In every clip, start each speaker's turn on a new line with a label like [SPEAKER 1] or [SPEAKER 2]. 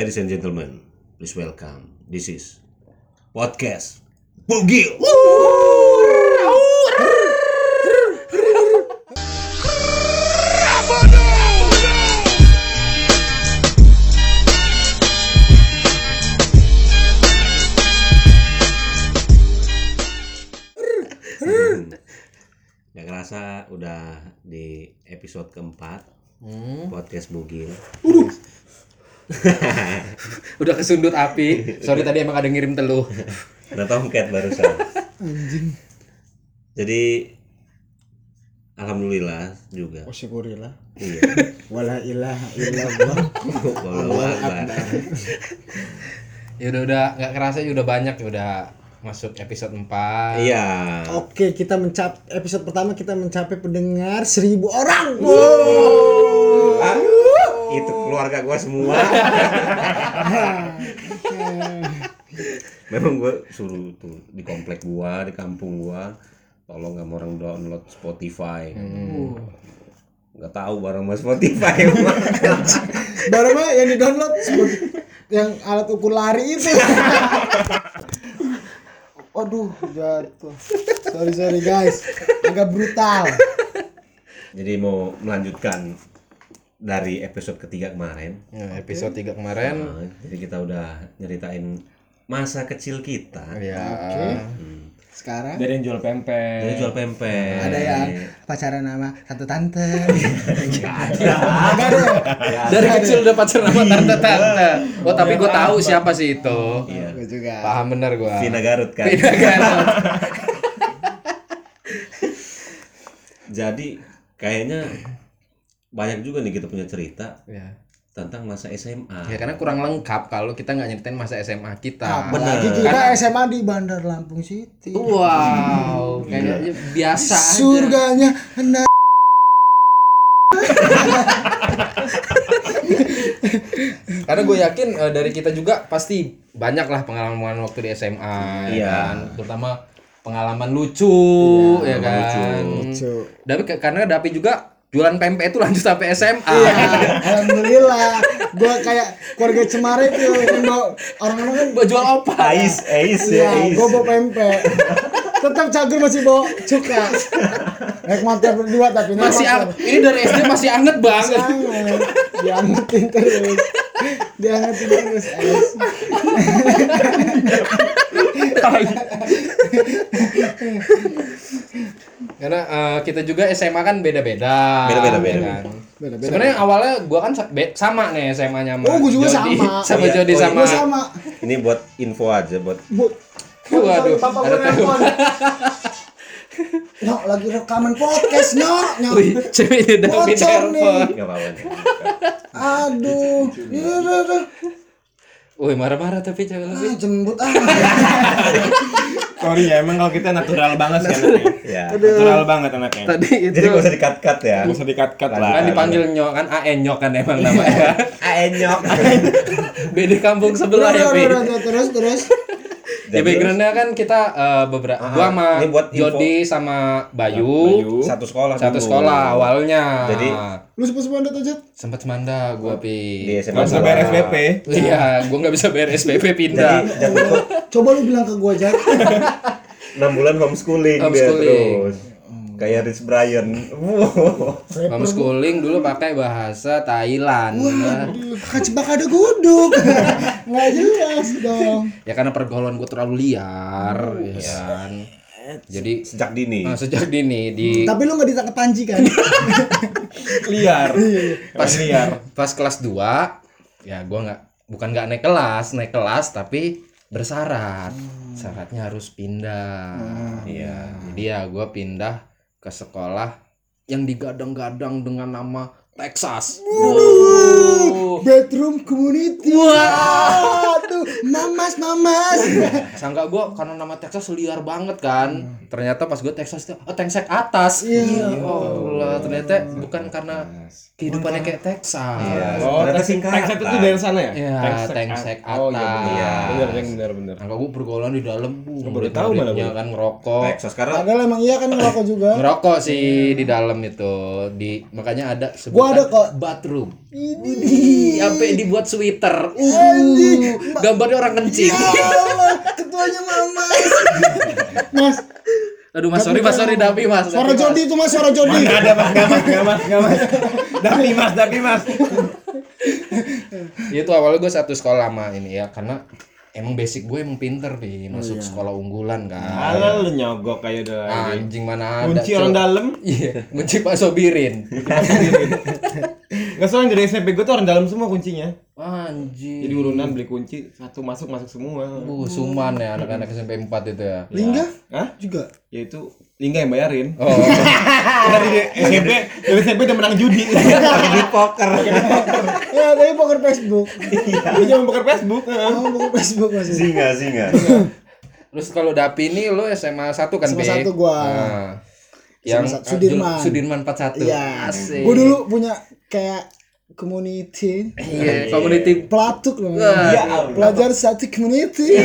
[SPEAKER 1] Ladies and gentlemen, please welcome. This is podcast Bugil. Gak kerasa udah di episode keempat
[SPEAKER 2] Hmm.
[SPEAKER 1] podcast Bugil.
[SPEAKER 2] Udah kesundut api. Sorry tadi emang ada ngirim teluh.
[SPEAKER 1] Ada tomcat barusan.
[SPEAKER 3] anjing
[SPEAKER 1] Jadi alhamdulillah juga.
[SPEAKER 3] oh syukurillah
[SPEAKER 1] Iya.
[SPEAKER 3] wala ilaha illallah
[SPEAKER 1] Walau akbar.
[SPEAKER 2] Ya udah udah nggak kerasa ya udah banyak ya udah masuk episode 4.
[SPEAKER 1] Iya.
[SPEAKER 3] oke kita mencap episode pertama kita mencapai pendengar seribu orang
[SPEAKER 1] Ah, Itu keluarga gua semua. Memang gua suruh tuh di komplek gua, di kampung gua tolong sama orang download Spotify. Nggak tahu bareng sama Spotify.
[SPEAKER 3] baru mah yang di download yang alat ukur lari itu aduh jatuh sorry sorry guys agak brutal
[SPEAKER 1] Jadi mau melanjutkan dari episode ketiga kemarin.
[SPEAKER 2] Ya, episode 3 kemarin
[SPEAKER 1] Nah, jadi kita udah nyeritain masa kecil kita.
[SPEAKER 2] ya
[SPEAKER 3] sekarang
[SPEAKER 4] dari yang jual pempek
[SPEAKER 1] Dari jual pempek.
[SPEAKER 3] ada ya. yang pacaran sama satu tante
[SPEAKER 2] dari kecil udah pacar sama tante-tante. Oh, tapi gue tahu siapa sih itu.
[SPEAKER 1] Iya.
[SPEAKER 3] Gua juga
[SPEAKER 2] Paham bener gua.
[SPEAKER 1] Vina Garut kan.
[SPEAKER 2] Vina Garut.
[SPEAKER 1] Jadi kayaknya banyak juga nih kita punya cerita
[SPEAKER 2] ya.
[SPEAKER 1] tentang masa
[SPEAKER 2] ya,
[SPEAKER 1] SMA.
[SPEAKER 4] kan?
[SPEAKER 2] karena kurang lengkap kalau kita nggak nyeritain masa SMA
[SPEAKER 1] Ah,
[SPEAKER 2] kita.
[SPEAKER 3] apalagi kita SMA di Bandar Lampung City
[SPEAKER 2] Wow, kayaknya biasa aja.
[SPEAKER 3] surganya hendak
[SPEAKER 2] Karena gue yakin eh, dari kita juga pasti banyak lah pengalaman waktu di SMA, ya
[SPEAKER 1] Iya.
[SPEAKER 2] kan? terutama pengalaman lucu, ya
[SPEAKER 1] pengalaman
[SPEAKER 2] kan.
[SPEAKER 1] lucu.
[SPEAKER 3] Cuk.
[SPEAKER 2] Tapi ke- karena Dapi juga jualan pempek itu lanjut sampai SMA.
[SPEAKER 3] Iya, alhamdulillah. Gua kayak keluarga cemara itu yang bawa orang-orang kan
[SPEAKER 2] Gua jual opal.
[SPEAKER 1] Ais, ais ya,
[SPEAKER 3] Iya,
[SPEAKER 1] ais.
[SPEAKER 3] gua bawa pempek. Tetap cagur masih bawa cuka. Naik motor berdua tapi naik
[SPEAKER 2] Masih
[SPEAKER 3] motor.
[SPEAKER 2] ang- ini dari SD masih anget banget.
[SPEAKER 3] Jangan. Diangetin terus. Diangetin terus. Ais.
[SPEAKER 2] karena eh, kita juga SMA kan beda-beda.
[SPEAKER 1] Beda-beda,
[SPEAKER 2] ya
[SPEAKER 1] beda-beda.
[SPEAKER 2] kan?
[SPEAKER 3] Beda-beda.
[SPEAKER 2] Sebenarnya awalnya gua kan sa- be- sama nih SMA-nya sama.
[SPEAKER 3] Oh, gua juga
[SPEAKER 2] Jody.
[SPEAKER 3] sama.
[SPEAKER 2] Sama
[SPEAKER 1] Oh, iya. Oh,
[SPEAKER 2] Jody
[SPEAKER 1] iya.
[SPEAKER 2] sama.
[SPEAKER 3] Gua sama.
[SPEAKER 1] Ini buat info aja buat
[SPEAKER 3] Bu.
[SPEAKER 2] Waduh,
[SPEAKER 3] Sorry, Papa
[SPEAKER 2] ada
[SPEAKER 3] gua nelpon. Nyok lagi rekaman podcast, Nyok. Nyok.
[SPEAKER 2] Wih, ceweknya Dapi
[SPEAKER 3] Bocor nih.
[SPEAKER 2] telepon.
[SPEAKER 1] nggak apa-apa. nih.
[SPEAKER 3] Aduh. Iya, Duh, duh, duh.
[SPEAKER 2] Wih, marah-marah tapi cewek lebih.
[SPEAKER 3] Ah, jembut ah.
[SPEAKER 4] sorry ya emang kalau kita natural banget sih anaknya
[SPEAKER 1] Ya.
[SPEAKER 4] natural banget anaknya
[SPEAKER 2] Tadi itu
[SPEAKER 1] Jadi gak usah dikat-kat ya.
[SPEAKER 4] nggak usah dikat-kat lah
[SPEAKER 2] kan dipanggil nyok kan AN nyok kan emang
[SPEAKER 1] Iya.
[SPEAKER 2] namanya.
[SPEAKER 1] Ah, Aenyok.
[SPEAKER 2] Beda kampung sebelah
[SPEAKER 3] Udah,
[SPEAKER 2] ya,
[SPEAKER 3] udah,
[SPEAKER 2] Pi.
[SPEAKER 3] udah, udah, iya, terus terus
[SPEAKER 2] Ya backgroundnya kan kita beberapa
[SPEAKER 1] Aha,
[SPEAKER 2] gua sama
[SPEAKER 1] Ah, ini buat info. Nah,
[SPEAKER 2] Jody sama Bayu
[SPEAKER 1] satu sekolah
[SPEAKER 2] satu
[SPEAKER 1] dulu.
[SPEAKER 2] sekolah awalnya.
[SPEAKER 1] Jadi,
[SPEAKER 3] lu sempat sempat ada tuh
[SPEAKER 2] sempat semanda gua
[SPEAKER 1] di
[SPEAKER 2] pi.
[SPEAKER 1] SMA
[SPEAKER 4] nggak usah
[SPEAKER 1] gua.
[SPEAKER 4] bayar SPP
[SPEAKER 2] Iya, gua nggak bisa bayar SPP
[SPEAKER 1] Jadi
[SPEAKER 2] pindah.
[SPEAKER 1] Jack itu
[SPEAKER 3] coba lu bilang ke gua aja
[SPEAKER 1] 6 bulan homeschooling, dia
[SPEAKER 2] Homeschooling.
[SPEAKER 1] terus. Kayak Rich Brian. Wow.
[SPEAKER 2] Homeschooling dulu pakai bahasa Thailand.
[SPEAKER 3] kan jebak ada guduk nggak jelas dong
[SPEAKER 2] Ya karena pergaulan gua terlalu liar, ya kan. Jadi
[SPEAKER 1] Sejak dini.
[SPEAKER 2] Nah, sejak dini di
[SPEAKER 3] tapi lu nggak ditangkap panji kan
[SPEAKER 4] liar pas liar
[SPEAKER 2] Iya, pas kelas 2 ya gua nggak bukan nggak naik kelas naik kelas tapi bersyarat syaratnya harus pindah
[SPEAKER 1] Iya.
[SPEAKER 2] jadi ya gua pindah ke sekolah yang digadang-gadang dengan nama Texas Wow.
[SPEAKER 3] bedroom community wah tuh mamas mamas
[SPEAKER 2] sangka gua karena nama Texas liar banget kan ternyata pas gua Texas itu oh, tengsek atas
[SPEAKER 3] Iya.
[SPEAKER 2] oh, Allah, ternyata bukan karena kehidupannya kayak Texas
[SPEAKER 4] oh
[SPEAKER 1] Ternyata
[SPEAKER 4] tengsek
[SPEAKER 1] singkatan.
[SPEAKER 4] tengsek itu dari sana ya
[SPEAKER 2] Iya, tengsek
[SPEAKER 4] oh iya
[SPEAKER 2] Iya.
[SPEAKER 4] benar benar benar benar
[SPEAKER 2] Angka gue pergaulan di dalam bu.
[SPEAKER 4] baru tahu malah
[SPEAKER 2] Murid-muridnya
[SPEAKER 4] gua.
[SPEAKER 2] kan ngerokok.
[SPEAKER 1] Texas karena
[SPEAKER 3] padahal emang iya kan ngerokok juga
[SPEAKER 2] Ngerokok sih di dalam itu. Di makanya ada sebutan
[SPEAKER 3] ada kok.
[SPEAKER 2] bathroom. Ini sampai dibuat sweater. Uh, gambarnya orang kencing.
[SPEAKER 4] Iya.
[SPEAKER 3] ketuanya mama. Mas,
[SPEAKER 2] Aduh Mas, sorry Mas, sorry Dapi Mas.
[SPEAKER 3] suara
[SPEAKER 2] Dapi, Mas.
[SPEAKER 3] Jody itu Mas, suara Jody.
[SPEAKER 4] Nggak ada mas, nggak mas, nggak mas, nggak mas. Dapi mas, dapi mas.
[SPEAKER 2] Itu awalnya gue satu sekolah sama ini ya karena emang basic gue emang pinter nih
[SPEAKER 4] Oh,
[SPEAKER 2] masuk
[SPEAKER 4] iya.
[SPEAKER 2] sekolah unggulan kan.
[SPEAKER 4] Alah lu nyogok kayak udah lagi.
[SPEAKER 2] Anjing mana Ah, ada.
[SPEAKER 4] Kunci orang
[SPEAKER 2] Cok.
[SPEAKER 4] dalam.
[SPEAKER 2] Iya, kunci Pak Sobirin.
[SPEAKER 4] Nggak soalnya dari SMP gue tuh orang dalam semua kuncinya. Jadi
[SPEAKER 2] Anjing.
[SPEAKER 4] urunan beli kunci satu masuk masuk semua.
[SPEAKER 2] Uh, suman ya anak-anak SMP 4 itu ya.
[SPEAKER 3] Lingga
[SPEAKER 4] Hah?
[SPEAKER 3] juga.
[SPEAKER 4] Ya itu Lingga yang bayarin.
[SPEAKER 2] Oh,
[SPEAKER 4] Dari SMP, dari SMP udah menang judi.
[SPEAKER 1] di poker
[SPEAKER 3] Ya, tapi poker Facebook.
[SPEAKER 4] Lu jangan buka Facebook. heeh.
[SPEAKER 3] Oh, poker Facebook masih.
[SPEAKER 1] singa singa
[SPEAKER 2] terus kalau Dapi ini lo SMA 1 kan,
[SPEAKER 3] SMA
[SPEAKER 2] Pi?
[SPEAKER 3] satu gua.
[SPEAKER 2] Nah, yang
[SPEAKER 3] satu.
[SPEAKER 2] ah,
[SPEAKER 3] Sudirman.
[SPEAKER 2] Jul- Sudirman 41.
[SPEAKER 3] Iya.
[SPEAKER 2] Asik.
[SPEAKER 3] Gue dulu punya kayak community Eh,
[SPEAKER 2] Iya, community.
[SPEAKER 3] pelatuk loh.
[SPEAKER 2] Ya
[SPEAKER 3] Iya, Pelajar satu community.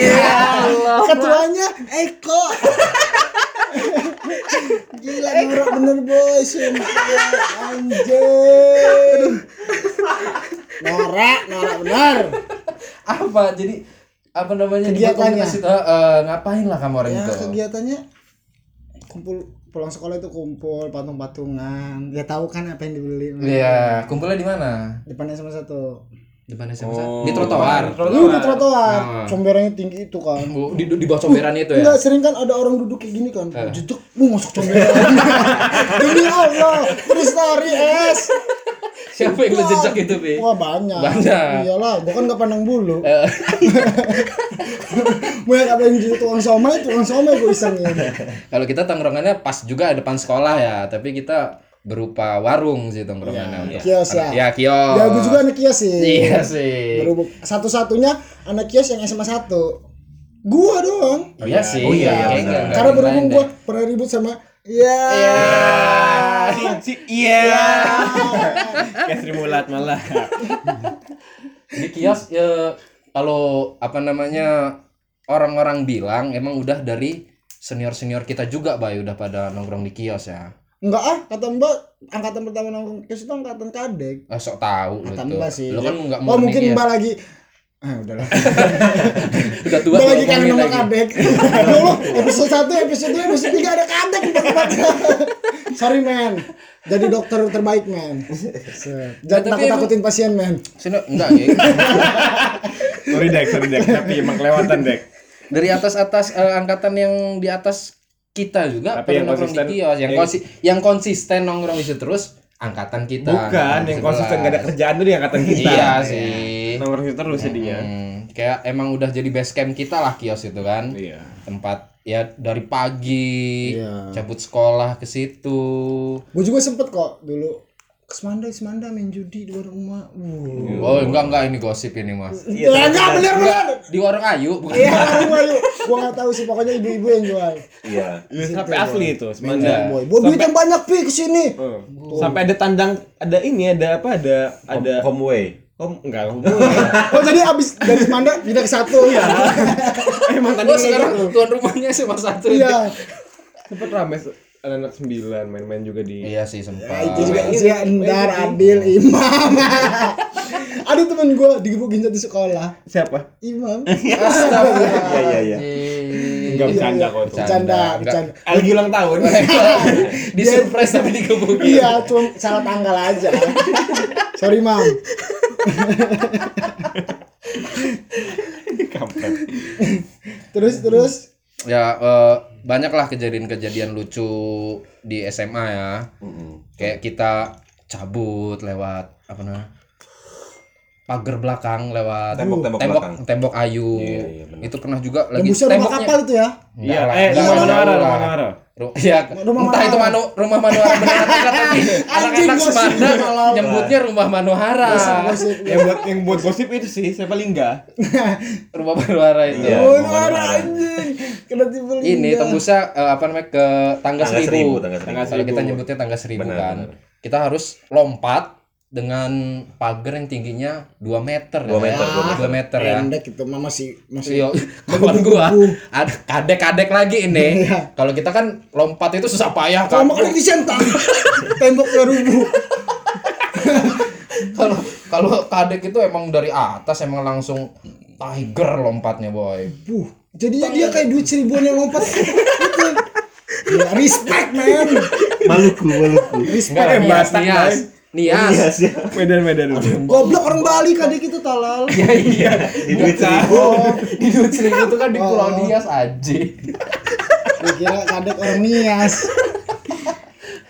[SPEAKER 3] Ketuanya Eko. Gila norak bener boy, sumpah anjing. Norak, norak bener.
[SPEAKER 2] apa jadi apa namanya di
[SPEAKER 3] Kegiatannya.
[SPEAKER 2] komunitas itu eh, ngapain lah kamu orang
[SPEAKER 3] Ya
[SPEAKER 2] itu
[SPEAKER 3] kegiatannya kumpul pulang sekolah itu kumpul patung-patungan. Ya tahu kan apa yang dibeli.
[SPEAKER 2] Iya, kumpulnya di mana?
[SPEAKER 3] Depannya sama satu.
[SPEAKER 2] Di mana SMA? di trotoar. Nah.
[SPEAKER 3] Lu di Iya, trotoar, comberannya tinggi itu kan.
[SPEAKER 2] Oh, Di di bawah comberan itu ya.
[SPEAKER 3] Enggak, sering kan ada orang duduk kayak gini kan.
[SPEAKER 2] Eh.
[SPEAKER 3] Jeduk, mau masuk comberan. Demi Allah, terus story es.
[SPEAKER 2] Siapa yang lu jejak itu, Pi?
[SPEAKER 3] Wah, banyak.
[SPEAKER 2] Iya. Banyak. Eh.
[SPEAKER 3] Iyalah, gua kan enggak pandang bulu. Mau yang ada yang jadi tukang somai, tukang somai gua isengin.
[SPEAKER 2] Kalau kita tongkrongannya pas juga depan sekolah ya, tapi kita berupa warung sih tongkrongannya untuk
[SPEAKER 3] Kios ya.
[SPEAKER 2] ya kios.
[SPEAKER 3] Ya gua juga anak kios sih.
[SPEAKER 2] Iya sih.
[SPEAKER 3] Berhubung satu-satunya anak kios yang SMA 1. Gua doang.
[SPEAKER 2] Oh, iya sih.
[SPEAKER 1] Oh, iya, iya, benar.
[SPEAKER 2] Kayaknya nggak ada
[SPEAKER 3] Karena
[SPEAKER 2] yang
[SPEAKER 3] berhubung
[SPEAKER 2] lain
[SPEAKER 3] gua
[SPEAKER 2] deh.
[SPEAKER 3] pernah ribut sama Iya.
[SPEAKER 4] Ah, Kunci, iya. Kayak Sri Mulat malah.
[SPEAKER 2] di kios ya kalau apa namanya orang-orang bilang emang udah dari senior-senior kita juga Bay udah pada nongkrong di kios ya.
[SPEAKER 3] Enggak ah, kata Mbak angkatan pertama nongkrong kios itu angkatan kadek.
[SPEAKER 2] Ah, sok tahu lu
[SPEAKER 3] Kata
[SPEAKER 2] tuh.
[SPEAKER 3] Mbak sih.
[SPEAKER 2] Lu kan enggak
[SPEAKER 3] Oh,
[SPEAKER 2] murni
[SPEAKER 3] mungkin
[SPEAKER 2] kios.
[SPEAKER 3] Mbak lagi Ah, udahlah.
[SPEAKER 2] udah tua
[SPEAKER 3] Mbak
[SPEAKER 2] lu
[SPEAKER 3] lagi kan
[SPEAKER 2] ngomongin
[SPEAKER 3] nomor
[SPEAKER 2] lagi.
[SPEAKER 3] kadek. Ya Allah, episode 1, episode 2, episode 3 ada kadek di tempatnya. Sorry, men. Jadi dokter terbaik, men. Set. Jangan
[SPEAKER 2] Nah, tapi
[SPEAKER 3] takut-takutin pasien, men.
[SPEAKER 2] Sini enggak ya.
[SPEAKER 4] Sorry Dek, sorry Dek, tapi emang kelewatan Dek.
[SPEAKER 2] Dari atas-atas eh, angkatan yang di atas kita juga pada
[SPEAKER 4] Tapi yang
[SPEAKER 2] nongkrong
[SPEAKER 4] konsisten-
[SPEAKER 2] di kios yang
[SPEAKER 4] yang-
[SPEAKER 2] konsi- yang konsisten nongkrong di situ terus angkatan kita.
[SPEAKER 4] Bukan,
[SPEAKER 2] angkatan
[SPEAKER 4] yang konsisten gak ada
[SPEAKER 2] 11.
[SPEAKER 4] kerjaan tuh di angkatan kita.
[SPEAKER 2] Iya sih.
[SPEAKER 4] Nomor kita terus jadinya.
[SPEAKER 2] Hmm, kayak emang udah jadi base camp kita lah kios itu kan.
[SPEAKER 4] Iya.
[SPEAKER 2] tempat ya dari pagi
[SPEAKER 3] Iya.
[SPEAKER 2] cabut sekolah ke situ
[SPEAKER 3] Gue juga sempet kok dulu ke Semanda, Semanda main judi di warung emak. Wuh.
[SPEAKER 4] Iya,
[SPEAKER 2] oh enggak enggak ini gosip ini mas
[SPEAKER 3] Ya, enggak bener bener.
[SPEAKER 2] di warung ayu bukan
[SPEAKER 3] Iya, warung Ayu. Gua enggak tahu sih, pokoknya ibu-ibu yang jual.
[SPEAKER 1] iya
[SPEAKER 4] Sampai asli itu,
[SPEAKER 3] Iya,
[SPEAKER 4] semanda.
[SPEAKER 3] boy. Buat duit yang banyak pi ke sini.
[SPEAKER 4] Heeh. Sampai ada tandang, ada ini, ada apa, ada ada
[SPEAKER 1] homeway
[SPEAKER 4] Kom, enggak kom.
[SPEAKER 3] Oh, jadi abis dari Semanda pindah ke satu. Iya.
[SPEAKER 4] Emang tadi
[SPEAKER 2] Wah, sekarang tuan rumahnya cuma satu
[SPEAKER 3] Iya.
[SPEAKER 4] sempet rame se- anak-anak sembilan main-main juga di
[SPEAKER 2] iya sih sempat
[SPEAKER 3] Nah, Itu juga Zia Endar, Adil, Imam. Ada temen gue digebukin satu sekolah.
[SPEAKER 4] siapa?
[SPEAKER 3] Imam.
[SPEAKER 1] iya iya iya
[SPEAKER 3] Iya.
[SPEAKER 4] Enggak bercanda kok itu.
[SPEAKER 3] Bercanda, bercanda.
[SPEAKER 4] Lagi ulang tahun. Eh,
[SPEAKER 2] di surprise tapi dikebukin
[SPEAKER 3] Iya, cuma salah tanggal aja. Sorry, Mam.
[SPEAKER 4] Kampret.
[SPEAKER 3] Terus terus
[SPEAKER 2] ya eh, banyaklah kejadian-kejadian lucu di SMA ya kayak kita cabut lewat apa namanya pagar belakang lewat
[SPEAKER 1] Tembok- tembok
[SPEAKER 2] tembok,
[SPEAKER 1] belakang.
[SPEAKER 2] tembok ayu itu pernah juga
[SPEAKER 3] yang
[SPEAKER 2] lagi
[SPEAKER 3] busa rumah
[SPEAKER 2] temboknya
[SPEAKER 3] kapal itu ya.
[SPEAKER 4] Iya,
[SPEAKER 2] Enggak lah,
[SPEAKER 4] eh,
[SPEAKER 2] enggak
[SPEAKER 4] rumah
[SPEAKER 2] lah,
[SPEAKER 4] Manuara,
[SPEAKER 2] jauh lah.
[SPEAKER 4] rumah Manuara.
[SPEAKER 2] Ru- ya,
[SPEAKER 3] Rumah
[SPEAKER 2] entah itu
[SPEAKER 3] Manohara.
[SPEAKER 2] manu, rumah Manohara benar tapi anak-anak
[SPEAKER 3] gosip.
[SPEAKER 2] Semanda nyebutnya rumah Manohara.
[SPEAKER 3] Gosip.
[SPEAKER 2] Iya.
[SPEAKER 4] Yang buat yang buat gosip itu sih, siapa Lingga?
[SPEAKER 2] Rumah Manohara itu.
[SPEAKER 1] Iya.
[SPEAKER 3] Oh,
[SPEAKER 1] rumah
[SPEAKER 3] ada
[SPEAKER 1] orang.
[SPEAKER 3] anjing. Kena timbul
[SPEAKER 2] Ini tembusnya eh, apa namanya ke
[SPEAKER 1] Tangga
[SPEAKER 2] tangga, seribu.
[SPEAKER 1] seribu, tangga seribu.
[SPEAKER 2] Kalau
[SPEAKER 4] Tangga
[SPEAKER 2] kita
[SPEAKER 4] seribu.
[SPEAKER 2] nyebutnya tangga seribu
[SPEAKER 1] Benar,
[SPEAKER 2] kan.
[SPEAKER 1] benar.
[SPEAKER 2] Kita harus lompat dengan pagar yang tingginya 2 meter.
[SPEAKER 1] Dua meter, dua meter.
[SPEAKER 2] 2 meter ya. Iya.
[SPEAKER 3] pendek itu mah masih masih
[SPEAKER 2] Yo, kawan gua ada kadek-kadek lagi ini. Kalau kita kan lompat itu susah payah
[SPEAKER 3] Kalau
[SPEAKER 2] kan.
[SPEAKER 3] makan di sentang. Tembok rubuh.
[SPEAKER 2] Kalau kalau kadek itu emang dari atas emang langsung tiger lompatnya boy.
[SPEAKER 3] Buh, jadinya dia kayak duit seribuan yang lompat. Gitu. Gila, respect man.
[SPEAKER 5] Maluku, Maluku.
[SPEAKER 4] Iya,
[SPEAKER 2] Enggak lah, nias, nias, nias.
[SPEAKER 5] Iya sih.
[SPEAKER 4] Medan Medan.
[SPEAKER 3] Goblok orang Bali kadek itu talal.
[SPEAKER 2] Ya iya.
[SPEAKER 5] Di duit seribu.
[SPEAKER 3] oh.
[SPEAKER 2] Di duit seribu itu kan di Pulau Nias aja.
[SPEAKER 3] Gua kira kadek orang Nias.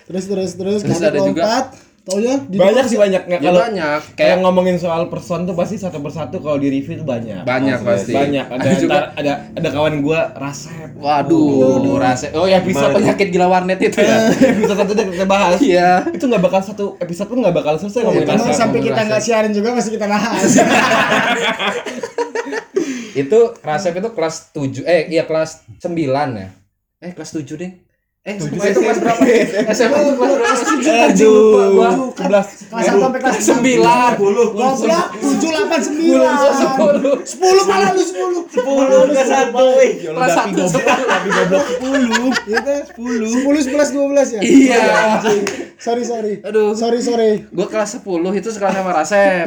[SPEAKER 3] Terus terus terus
[SPEAKER 2] Terus ada
[SPEAKER 3] kadek
[SPEAKER 2] juga-
[SPEAKER 3] lompat. Taunya di
[SPEAKER 4] Banyak sih banyak nggak
[SPEAKER 2] Ya
[SPEAKER 4] kalau
[SPEAKER 2] banyak.
[SPEAKER 4] kayak
[SPEAKER 2] Kayak
[SPEAKER 4] ngomongin soal person tuh pasti satu persatu kalau di review tuh banyak.
[SPEAKER 2] Iya, banyak pasti.
[SPEAKER 4] Banyak. Ada
[SPEAKER 2] Ada juga.
[SPEAKER 4] ntar- ada ada kawan gua Rasep.
[SPEAKER 2] Waduh, rasa. Oh ya bisa penyakit gila warnet itu ya.
[SPEAKER 4] Episode satu udah kita bahas.
[SPEAKER 2] Iya.
[SPEAKER 4] Itu nggak bakal satu episode pun nggak bakal selesai ngomongin
[SPEAKER 3] Emang
[SPEAKER 4] Rasep.
[SPEAKER 3] sampai kita nggak siarin juga masih kita bahas.
[SPEAKER 2] itu Rasep itu kelas 7 eh iya kelas 9 ya. Eh kelas 7 deh. Eh,
[SPEAKER 4] Tujuh
[SPEAKER 2] SMA itu kelas berapa? SMA itu kelas berapa?
[SPEAKER 4] Aduh. Sebelas.
[SPEAKER 3] Kelas satu sampai kelas
[SPEAKER 2] Sembilan.
[SPEAKER 3] Goblok tujuh delapan sembilan.
[SPEAKER 2] Sepuluh.
[SPEAKER 3] Sepuluh malah lu sepuluh.
[SPEAKER 5] Sepuluh ke satu. weh.
[SPEAKER 2] Kelas satu sepuluh.
[SPEAKER 4] Tapi goblok sepuluh.
[SPEAKER 3] Gitu. Sepuluh. Sepuluh sebelas dua belas ya.
[SPEAKER 2] Iya.
[SPEAKER 3] Sorry sorry.
[SPEAKER 2] Aduh.
[SPEAKER 3] Sorry sorry.
[SPEAKER 2] Gua kelas 10 itu sekelas sama Rasep.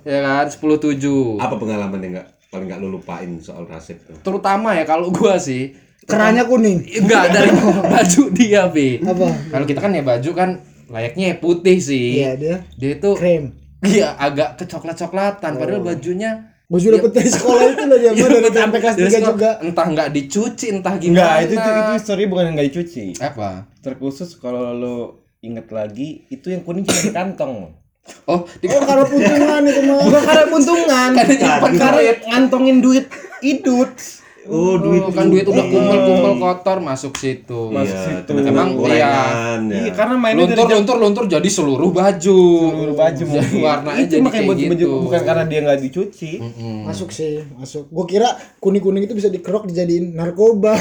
[SPEAKER 2] ya kan? 10 7.
[SPEAKER 1] Apa pengalaman yang nggak paling nggak lu lupain soal Rasif tuh?
[SPEAKER 2] Terutama ya kalau gua sih
[SPEAKER 3] Kerahnya kuning.
[SPEAKER 2] enggak dari baju dia, Bi.
[SPEAKER 3] Apa?
[SPEAKER 2] Kalau kita kan ya baju kan layaknya putih sih.
[SPEAKER 3] Iya dia.
[SPEAKER 2] Dia itu
[SPEAKER 3] Krem.
[SPEAKER 2] iya agak kecoklat-coklatan padahal bajunya
[SPEAKER 3] Baju dapet dari sekolah itu loh dia
[SPEAKER 2] Iya,
[SPEAKER 3] mah dari
[SPEAKER 2] betul.
[SPEAKER 3] sampai kelas
[SPEAKER 2] Dari
[SPEAKER 3] tiga
[SPEAKER 2] sekolah.
[SPEAKER 3] juga.
[SPEAKER 2] Entah nggak dicuci, entah gimana.
[SPEAKER 4] Enggak, itu itu, itu story bukan yang nggak dicuci.
[SPEAKER 2] apa?
[SPEAKER 4] Terkhusus kalau lo inget lagi, itu yang kuning cuma di kantong.
[SPEAKER 2] Oh, di
[SPEAKER 3] Oh karena puntungan itu mah. Bukan karena puntungan.
[SPEAKER 2] ada nyimpan karet.
[SPEAKER 4] ngantongin duit idut.
[SPEAKER 5] Oh, duit.
[SPEAKER 2] Oh, kan duit udah kumpul-kumpul kotor masuk situ.
[SPEAKER 4] Masuk
[SPEAKER 1] Iya,
[SPEAKER 4] situ.
[SPEAKER 1] kena
[SPEAKER 2] Emang
[SPEAKER 1] gorengan, ya.
[SPEAKER 4] Iya, karena mainnya dari jam
[SPEAKER 2] Luntur-luntur luntur jadi seluruh baju.
[SPEAKER 4] seluruh baju
[SPEAKER 2] Jadi
[SPEAKER 4] mungkin.
[SPEAKER 2] warnanya
[SPEAKER 4] itu
[SPEAKER 2] Iya, jadi
[SPEAKER 4] makanya
[SPEAKER 2] kayak
[SPEAKER 4] baju, baju
[SPEAKER 2] gitu.
[SPEAKER 4] bukan karena dia nggak dicuci.
[SPEAKER 3] Hmm. Masuk sih, masuk. Gue kira kuning-kuning itu bisa dikerok dijadiin narkoba.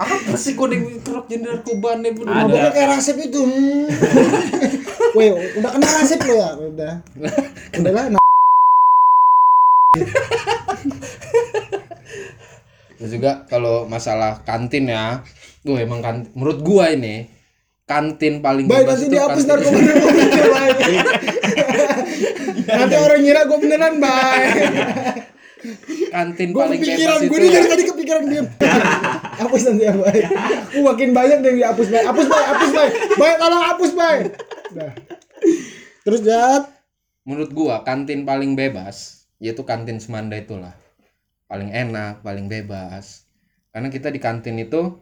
[SPEAKER 2] Apa sih kuning kerok jadi narkoba nih? bener.
[SPEAKER 3] Maboknya kayak rasep itu. Hmm. Weh, udah kena rasep lo ya? Udah. Udah lah. nah.
[SPEAKER 2] Terus juga kalau masalah kantin ya, gue emang kan menurut gua ini kantin paling
[SPEAKER 3] Baik
[SPEAKER 2] bebas
[SPEAKER 3] nanti
[SPEAKER 2] itu
[SPEAKER 3] dihapus
[SPEAKER 2] kantin-
[SPEAKER 3] narkoba narkoba baik.
[SPEAKER 2] Iya.
[SPEAKER 3] Nanti orang ngira gue beneran baik.
[SPEAKER 2] kantin
[SPEAKER 3] Gue
[SPEAKER 2] paling
[SPEAKER 3] kepikiran,
[SPEAKER 2] bebas itu ya.
[SPEAKER 3] gue ini dari tadi kepikiran diem. Hapus nanti ya baik. Gue makin banyak yang dihapus baik. Hapus baik, hapus baik. Baik tolong hapus baik. Udah. Terus jat.
[SPEAKER 2] menurut gua kantin paling bebas yaitu kantin Semanda itulah paling enak paling bebas karena kita di kantin itu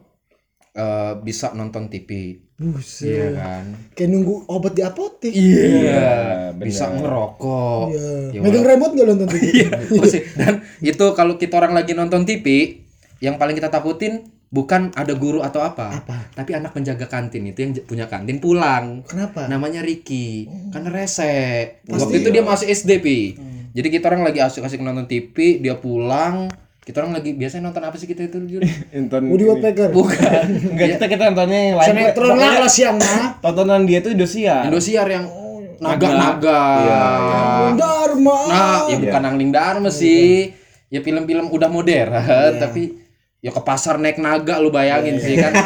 [SPEAKER 2] eh, bisa nonton TV iya
[SPEAKER 3] Buset.
[SPEAKER 2] kan
[SPEAKER 3] Kayak nunggu obat di apotek.
[SPEAKER 2] iya
[SPEAKER 4] bener.
[SPEAKER 2] bisa ngerokok
[SPEAKER 3] Iya.
[SPEAKER 2] Ya,
[SPEAKER 3] Megang remote nggak lo nonton TV?
[SPEAKER 2] Iya, pasti. Dan itu kalau kita orang lagi nonton TV, yang paling kita takutin bukan ada guru atau apa, tapi anak penjaga kantin itu yang j- punya kantin pulang.
[SPEAKER 3] Kenapa?
[SPEAKER 2] Namanya Ricky, karena rese. Waktu itu dia masih SD, Pi. Jadi kita orang lagi asik-asik nonton TV, dia pulang. Kita orang lagi biasanya nonton apa sih kita itu? Jul?
[SPEAKER 4] Nonton
[SPEAKER 3] Woody
[SPEAKER 4] ini.
[SPEAKER 3] Woodpecker.
[SPEAKER 2] bukan.
[SPEAKER 4] Enggak kita kita nontonnya yang lain.
[SPEAKER 3] Sinetron lah kalau siang mah.
[SPEAKER 4] Tontonan dia tuh Indonesia.
[SPEAKER 2] Indosiar yang naga-naga.
[SPEAKER 3] Iya. Dharma.
[SPEAKER 2] Ah. Nah, ya bukan Angling Dharma sih. Ya film-film udah modern, tapi ya ke pasar naik naga lu bayangin sih kan.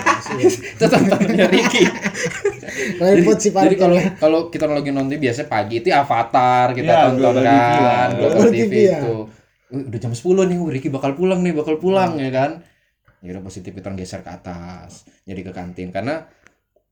[SPEAKER 2] Itu tontonannya Ricky.
[SPEAKER 3] Repot sih
[SPEAKER 2] iya. Jadi kalau
[SPEAKER 4] ya.
[SPEAKER 3] parkir.
[SPEAKER 2] kalau kita lagi nonton biasanya pagi itu Avatar kita
[SPEAKER 4] Iya,
[SPEAKER 2] tonton
[SPEAKER 4] Global TV lah.
[SPEAKER 2] kan, Global
[SPEAKER 3] Global
[SPEAKER 2] TV
[SPEAKER 3] TV ya.
[SPEAKER 2] itu. Wih, udah jam 10 nih, wih, Ricky bakal pulang nih, bakal pulang ya kan. Ya udah positif kita geser ke atas, jadi ke kantin karena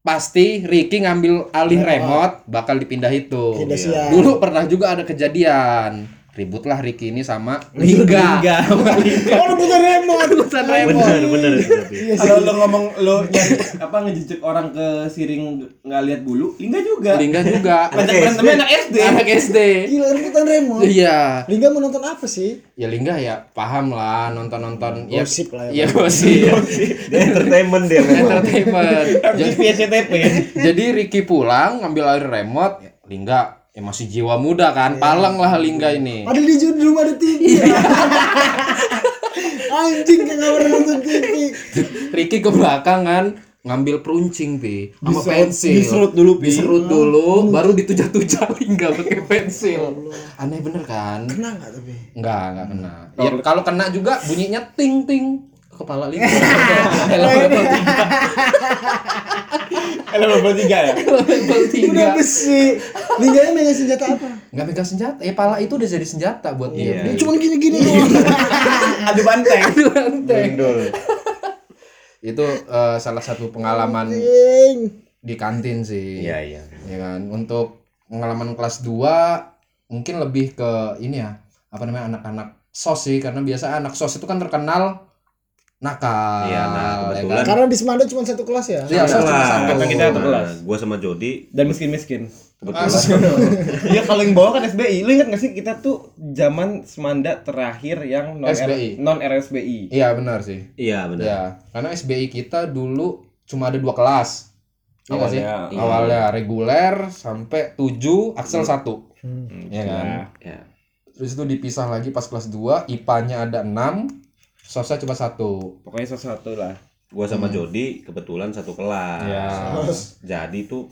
[SPEAKER 2] pasti Ricky ngambil alih remote bakal dipindah itu.
[SPEAKER 3] Pindah siang.
[SPEAKER 2] Oh, iya. Dulu pernah juga ada kejadian ributlah Ricky ini sama Lingga.
[SPEAKER 4] Lingga.
[SPEAKER 2] Sama Lingga.
[SPEAKER 3] Oh, rebutan remote.
[SPEAKER 2] Rebutan remote.
[SPEAKER 5] Bener, bener.
[SPEAKER 3] Iya sih.
[SPEAKER 4] Kalau lo ngomong lo nyari apa ngejejek orang ke siring nggak lihat bulu, enggak juga.
[SPEAKER 2] Lingga juga.
[SPEAKER 4] Banyak berantemnya anak SD.
[SPEAKER 2] Anak SD.
[SPEAKER 3] Gila rebutan remote.
[SPEAKER 2] Iya.
[SPEAKER 3] Lingga mau nonton apa sih?
[SPEAKER 2] Ya Lingga ya paham lah nonton-nonton ya
[SPEAKER 3] Gosip lah
[SPEAKER 2] ya.
[SPEAKER 3] ya,
[SPEAKER 2] gosip.
[SPEAKER 5] Dia entertainment dia memang.
[SPEAKER 2] Entertainment.
[SPEAKER 4] Di
[SPEAKER 2] jadi,
[SPEAKER 4] VCTP.
[SPEAKER 2] jadi Ricky pulang ngambil alih remote, Lingga ya masih jiwa muda kan, palang lah Lingga ini.
[SPEAKER 3] Padahal di judul rumah ada TV. Anjing kayak nggak pernah nonton TV.
[SPEAKER 2] Ricky ke belakang kan ngambil peruncing pi sama
[SPEAKER 4] Diserut-
[SPEAKER 2] pensil
[SPEAKER 4] diserut dulu, Pi.
[SPEAKER 2] diserut dulu baru ditujah-tujah hingga pakai pensil aneh bener kan
[SPEAKER 3] Kena nggak tapi?
[SPEAKER 2] enggak enggak kena ya kalau kena juga bunyinya ting ting kepala lima level level tiga
[SPEAKER 4] Eh, level 3 ya?
[SPEAKER 2] level tiga
[SPEAKER 3] Udah besi. Lingganya megang senjata apa?
[SPEAKER 2] nggak pegang senjata eh pala itu udah jadi senjata buat dia
[SPEAKER 3] Dia cuma gini-gini doang.
[SPEAKER 4] Adu banteng.
[SPEAKER 2] Aduh, antek.
[SPEAKER 5] Dul.
[SPEAKER 2] itu eh, salah satu pengalaman
[SPEAKER 3] Anjing.
[SPEAKER 2] di kantin sih
[SPEAKER 5] Iya, iya.
[SPEAKER 2] ya kan untuk pengalaman kelas 2 mungkin lebih ke ini ya apa namanya anak-anak sos sih karena biasa anak sos itu kan terkenal nakal
[SPEAKER 1] Iya, nah,
[SPEAKER 2] ya
[SPEAKER 1] kebetulan.
[SPEAKER 2] kan?
[SPEAKER 3] Karena di Semanda cuma satu kelas ya.
[SPEAKER 2] Iya, sos cuma
[SPEAKER 1] Kelas.
[SPEAKER 2] satu.
[SPEAKER 4] Karena kita satu kelas.
[SPEAKER 1] Nah, gua sama Jody
[SPEAKER 4] Dan miskin-miskin.
[SPEAKER 1] kebetulan
[SPEAKER 4] Iya kalau yang bawah kan SBI. Lu ingat gak sih kita tuh zaman semanda terakhir yang non
[SPEAKER 2] SBI.
[SPEAKER 4] non RSBI.
[SPEAKER 2] iya benar sih
[SPEAKER 1] iya benar
[SPEAKER 2] ya karena SBI kita dulu cuma ada dua kelas Iya Hmm. nggak sih?
[SPEAKER 4] Awalnya, iya.
[SPEAKER 2] awalnya reguler sampai 7 Axel satu
[SPEAKER 3] Hmm.
[SPEAKER 2] ya kan
[SPEAKER 1] ya.
[SPEAKER 2] terus itu dipisah lagi pas kelas 2 IPA-nya ada 6 sosnya cuma satu
[SPEAKER 4] Pokoknya sesuatu lah.
[SPEAKER 1] gua
[SPEAKER 2] Hmm.
[SPEAKER 1] sama Jody kebetulan satu kelas
[SPEAKER 2] Ya.
[SPEAKER 1] jadi tuh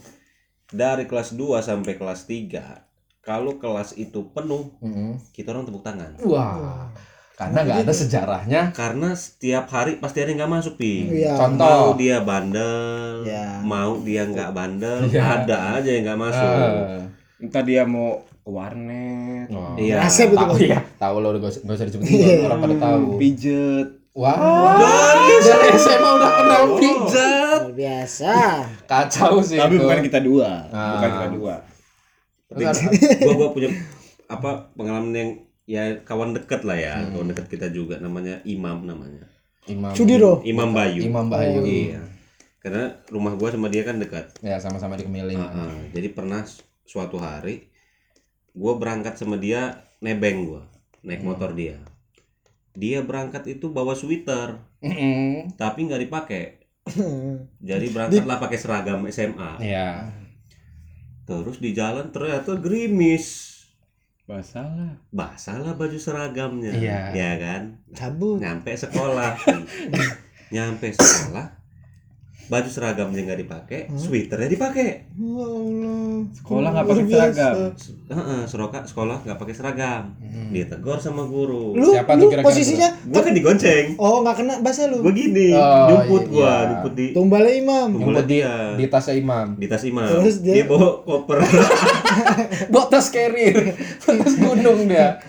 [SPEAKER 1] dari kelas 2 sampai kelas 3 kalau kelas itu penuh
[SPEAKER 2] Mm-mm.
[SPEAKER 1] kita orang tepuk tangan
[SPEAKER 2] Wah, karena nggak ada sejarahnya.
[SPEAKER 1] karena setiap hari pasti ada yang nggak masuk pi
[SPEAKER 3] Iya.
[SPEAKER 1] mau
[SPEAKER 2] Contoh.
[SPEAKER 1] dia bandel
[SPEAKER 3] Ya.
[SPEAKER 1] mau dia nggak bandel
[SPEAKER 2] Iya.
[SPEAKER 1] ada aja yang nggak masuk
[SPEAKER 2] Eh,
[SPEAKER 4] Entah dia mau ke warnet,
[SPEAKER 2] oh.
[SPEAKER 1] iya
[SPEAKER 3] Asep itu.
[SPEAKER 2] Tahu ya, tahu lo udah nggak usah- nggak usah disebutin orang pada tahu.
[SPEAKER 4] pijet.
[SPEAKER 2] Wah, dari SMA udah kenal pijat.
[SPEAKER 3] Luar Biasa.
[SPEAKER 2] Kacau sih
[SPEAKER 4] Tapi
[SPEAKER 2] Iya, itu.
[SPEAKER 4] bukan kita dua,
[SPEAKER 2] Ah.
[SPEAKER 4] bukan kita dua.
[SPEAKER 1] Tapi gua gua punya apa pengalaman yang ya kawan deket lah ya
[SPEAKER 2] Hmm.
[SPEAKER 1] kawan deket kita juga namanya Imam namanya
[SPEAKER 2] Imam.
[SPEAKER 3] Sudiro.
[SPEAKER 1] Imam Bayu
[SPEAKER 2] Imam Bayu.
[SPEAKER 1] iya karena rumah gua sama dia kan dekat
[SPEAKER 2] Ya sama-sama di Kemiling.
[SPEAKER 1] Heeh, jadi pernah su- suatu hari gue berangkat sama dia nebeng gue naik motor dia dia berangkat itu bawa sweater
[SPEAKER 2] Mm-mm.
[SPEAKER 1] tapi nggak dipakai
[SPEAKER 3] Hmm.
[SPEAKER 1] jadi berangkatlah pakai seragam SMA
[SPEAKER 2] Iya.
[SPEAKER 1] terus di jalan ternyata gerimis
[SPEAKER 4] Masalah.
[SPEAKER 1] basah lah baju seragamnya
[SPEAKER 2] Iya.
[SPEAKER 1] ya kan
[SPEAKER 3] Cabut.
[SPEAKER 1] nyampe sekolah nyampe sekolah baju seragamnya nggak dipakai sweaternya dipakai
[SPEAKER 3] Ya Allah.
[SPEAKER 4] Sekolah nggak
[SPEAKER 3] Luar
[SPEAKER 4] pakai
[SPEAKER 3] biasa.
[SPEAKER 4] seragam.
[SPEAKER 1] Heeh, seroka sekolah nggak pakai seragam
[SPEAKER 2] Hmm.
[SPEAKER 1] ditegur sama guru
[SPEAKER 3] Lu,
[SPEAKER 2] Siapa tuh
[SPEAKER 3] lu
[SPEAKER 2] kira-kira
[SPEAKER 3] posisinya
[SPEAKER 1] gue kan digonceng
[SPEAKER 3] Oh nggak kena bahasa lu
[SPEAKER 1] gue gini
[SPEAKER 2] Oh,
[SPEAKER 1] jemput
[SPEAKER 2] iya.
[SPEAKER 1] gua jemput di
[SPEAKER 3] Tumbalnya imam
[SPEAKER 1] Jemput
[SPEAKER 2] di,
[SPEAKER 1] dia.
[SPEAKER 2] di tasnya Imam.
[SPEAKER 1] di tas imam
[SPEAKER 3] Terus
[SPEAKER 1] dia...
[SPEAKER 3] dia-
[SPEAKER 1] bawa koper
[SPEAKER 2] Bawa tas carrier, tas gunung dia.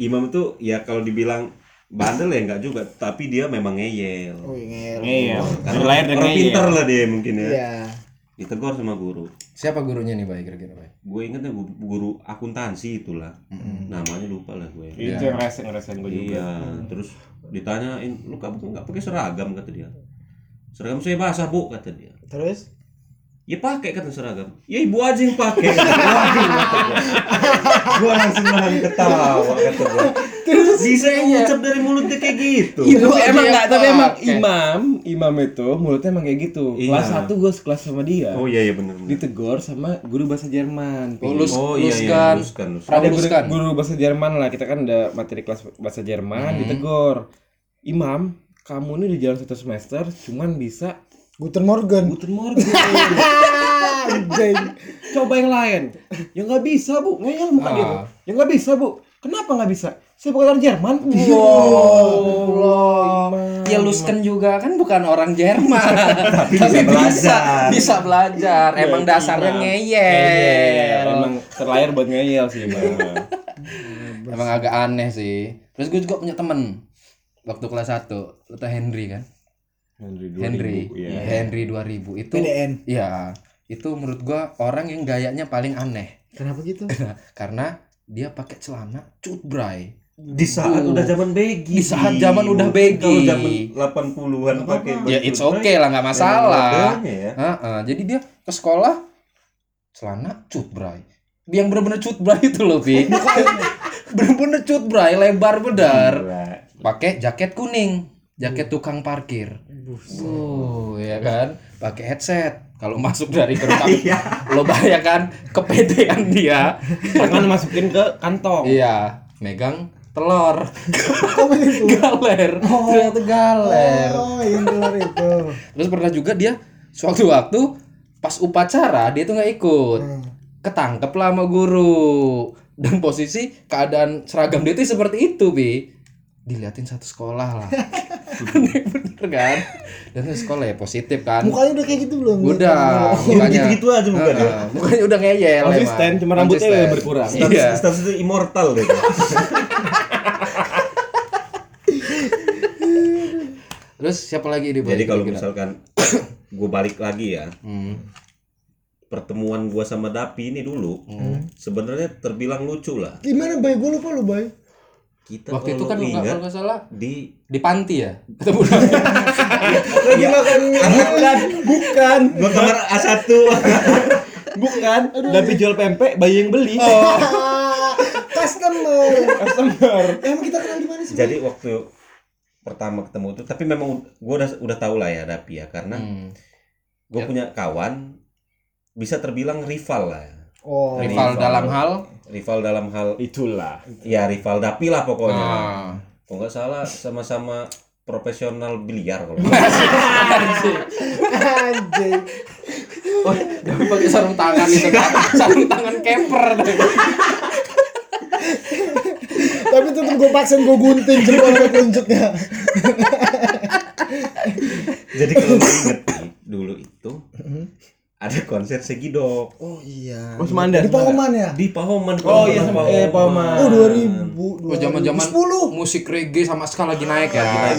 [SPEAKER 1] imam tuh ya kalau dibilang bandel ya nggak juga tapi dia memang ngeyel
[SPEAKER 3] Oh ngel
[SPEAKER 4] Iya.
[SPEAKER 1] Karena
[SPEAKER 4] Dari lahir dengan
[SPEAKER 1] orang pinter lah dia mungkin ya
[SPEAKER 3] Iya
[SPEAKER 1] ditegur sama guru
[SPEAKER 2] Siapa gurunya nih, Bay? Kira-kira, Bay?
[SPEAKER 1] gue ingetnya gu- guru akuntansi itulah namanya lupa lah gue
[SPEAKER 4] Itu yang ngerasain ngerasain gue Iya, juga.
[SPEAKER 1] iya terus ditanyain lu kamu kok nggak pakai seragam kata dia seragam saya basah bu kata dia
[SPEAKER 3] Terus
[SPEAKER 1] Ya pakai kan seragam. Ya ibu aja yang pakai. Waduh, kata gua. gua langsung nahan ketawa kata gua. Terus bisa
[SPEAKER 2] iya.
[SPEAKER 1] ngucap dari mulutnya kayak gitu.
[SPEAKER 4] Itu
[SPEAKER 2] Ibu
[SPEAKER 4] emang
[SPEAKER 2] aja
[SPEAKER 4] enggak,
[SPEAKER 2] yang
[SPEAKER 4] tapi emang
[SPEAKER 2] pakai.
[SPEAKER 4] imam, imam itu mulutnya emang kayak gitu.
[SPEAKER 1] Iya.
[SPEAKER 4] Kelas 1 gue sekelas sama dia.
[SPEAKER 1] Oh iya iya benar benar.
[SPEAKER 4] Ditegor sama guru bahasa Jerman.
[SPEAKER 2] Oh, lus-
[SPEAKER 1] Oh, iya, iya,
[SPEAKER 2] luskan.
[SPEAKER 1] luskan, luskan.
[SPEAKER 2] Prabu
[SPEAKER 4] ada guru,
[SPEAKER 2] luskan.
[SPEAKER 4] guru bahasa Jerman lah kita kan ada materi kelas bahasa
[SPEAKER 1] Hmm.
[SPEAKER 4] Jerman ditegur Imam kamu ini udah jalan satu semester cuman bisa
[SPEAKER 3] Guten Morgen
[SPEAKER 4] Guten Morgen
[SPEAKER 3] Anjing
[SPEAKER 4] coba yang lain ya nggak bisa bu ngeyel muka dia Bu.
[SPEAKER 2] Ah.
[SPEAKER 4] ya nggak bisa bu kenapa nggak bisa saya bukan orang Jerman
[SPEAKER 2] Wow. Ya Lusken juga kan bukan orang Jerman. Tapi,
[SPEAKER 1] bisa
[SPEAKER 2] bisa,
[SPEAKER 1] belajar.
[SPEAKER 2] bisa belajar. Emang dasarnya ngeyel. Emang,
[SPEAKER 4] Iya, emang terlahir buat ngeyel sih Imam
[SPEAKER 2] agak aneh sih. Terus gue juga punya temen waktu kelas 1, itu Henry kan?
[SPEAKER 4] Henry
[SPEAKER 2] Henry. iya.
[SPEAKER 1] Iya.
[SPEAKER 4] ya.
[SPEAKER 2] Henry 2000 itu
[SPEAKER 3] PDN.
[SPEAKER 2] Iya, itu menurut gua orang yang gayanya paling aneh
[SPEAKER 3] Kenapa gitu
[SPEAKER 2] karena dia pakai celana cut bray.
[SPEAKER 1] Di saat
[SPEAKER 2] Oh.
[SPEAKER 1] udah zaman begi.
[SPEAKER 2] Di saat zaman udah
[SPEAKER 1] Kalau
[SPEAKER 2] begi.
[SPEAKER 1] zaman 80-an pakai
[SPEAKER 2] Ya
[SPEAKER 1] baju
[SPEAKER 2] it's
[SPEAKER 1] baik,
[SPEAKER 2] okay lah nggak
[SPEAKER 1] emang
[SPEAKER 2] masalah.
[SPEAKER 1] adanya ya.
[SPEAKER 2] Heeh, jadi dia ke sekolah celana cut bray. Yang bener-bener cut bray itu loh, Bi. bener-bener cut bray, lebar bedar. Pakai jaket kuning, jaket tukang parkir. Oh, ya kan? Pakai headset. Kalau masuk dari gerbang, lo bayangkan kepedean dia.
[SPEAKER 4] jangan masukin ke kantong
[SPEAKER 2] Iya, megang telur.
[SPEAKER 3] Apa itu
[SPEAKER 2] galer. Oh, Ternyata galer.
[SPEAKER 3] Oh yang keluar itu
[SPEAKER 2] Terus pernah juga dia suatu waktu pas upacara dia tuh nggak ikut. Ketangkep lah sama guru. Dan posisi keadaan seragam dia tuh seperti itu, Bi. Diliatin satu sekolah lah. aneh bener kan dan itu sekolah ya positif kan
[SPEAKER 3] Mukanya udah kayak gitu belum?
[SPEAKER 2] udah mukanya
[SPEAKER 1] gitu-gitu gitu aja mukanya.
[SPEAKER 2] Heeh, mukanya udah ngeyel emang.
[SPEAKER 4] Konsisten, cuma rambutnya
[SPEAKER 2] Konsisten.
[SPEAKER 4] berkurang.
[SPEAKER 2] iya
[SPEAKER 1] Status, status itu immortal gitu. deh.
[SPEAKER 2] terus siapa lagi di
[SPEAKER 1] Jadi kalau misalkan gue balik lagi ya,
[SPEAKER 2] Hmm.
[SPEAKER 1] pertemuan gua sama Dapi ini dulu
[SPEAKER 2] Hmm.
[SPEAKER 1] sebenarnya terbilang lucu lah.
[SPEAKER 3] Gimana Bay? Gue lupa lu Bay.
[SPEAKER 1] Kita
[SPEAKER 2] waktu itu
[SPEAKER 1] kalau
[SPEAKER 2] kan lu nggak-
[SPEAKER 1] ingat
[SPEAKER 2] kalau nggak salah
[SPEAKER 1] di
[SPEAKER 2] di panti ya ketemu
[SPEAKER 3] Lagi makan
[SPEAKER 4] Bukan, bukan,
[SPEAKER 1] gua kamar A1
[SPEAKER 4] bukan. Tapi jual pempek, bayi yang beli.
[SPEAKER 3] customer.
[SPEAKER 4] Customer.
[SPEAKER 3] Emang kita kenal di mana sih?
[SPEAKER 1] jadi waktu pertama ketemu tuh tapi memang gua udah udah tahu lah ya Dapi ya karena
[SPEAKER 2] Hmm.
[SPEAKER 1] gua
[SPEAKER 2] Ya.
[SPEAKER 1] punya kawan bisa terbilang rival lah ya.
[SPEAKER 3] Oh.
[SPEAKER 2] rival dalam hal
[SPEAKER 1] rival dalam hal
[SPEAKER 4] Itulah.
[SPEAKER 1] ya rival Dapi lah pokoknya
[SPEAKER 2] nah.
[SPEAKER 1] kalau nggak salah sama-sama profesional biliar kalau
[SPEAKER 3] Anjing.
[SPEAKER 2] Oh, dia pakai sarung tangan itu kan sarung tangan keper
[SPEAKER 3] Tapi tetep gue paksain gue gunting jempol ke puncaknya.
[SPEAKER 1] jadi kalau lu inget nih, dulu itu ada konser Segidok
[SPEAKER 3] Oh iya.
[SPEAKER 4] Oh, Semandar,
[SPEAKER 3] Di Pahoman ya?
[SPEAKER 1] di Pahoman
[SPEAKER 4] Oh, iya,
[SPEAKER 1] Pahoman.
[SPEAKER 4] eh, Pahoman.
[SPEAKER 3] Oh 2000.
[SPEAKER 2] oh zaman zaman
[SPEAKER 3] 2010.
[SPEAKER 2] musik reggae sama sekali lagi naik ya
[SPEAKER 3] Iya,
[SPEAKER 1] Iya,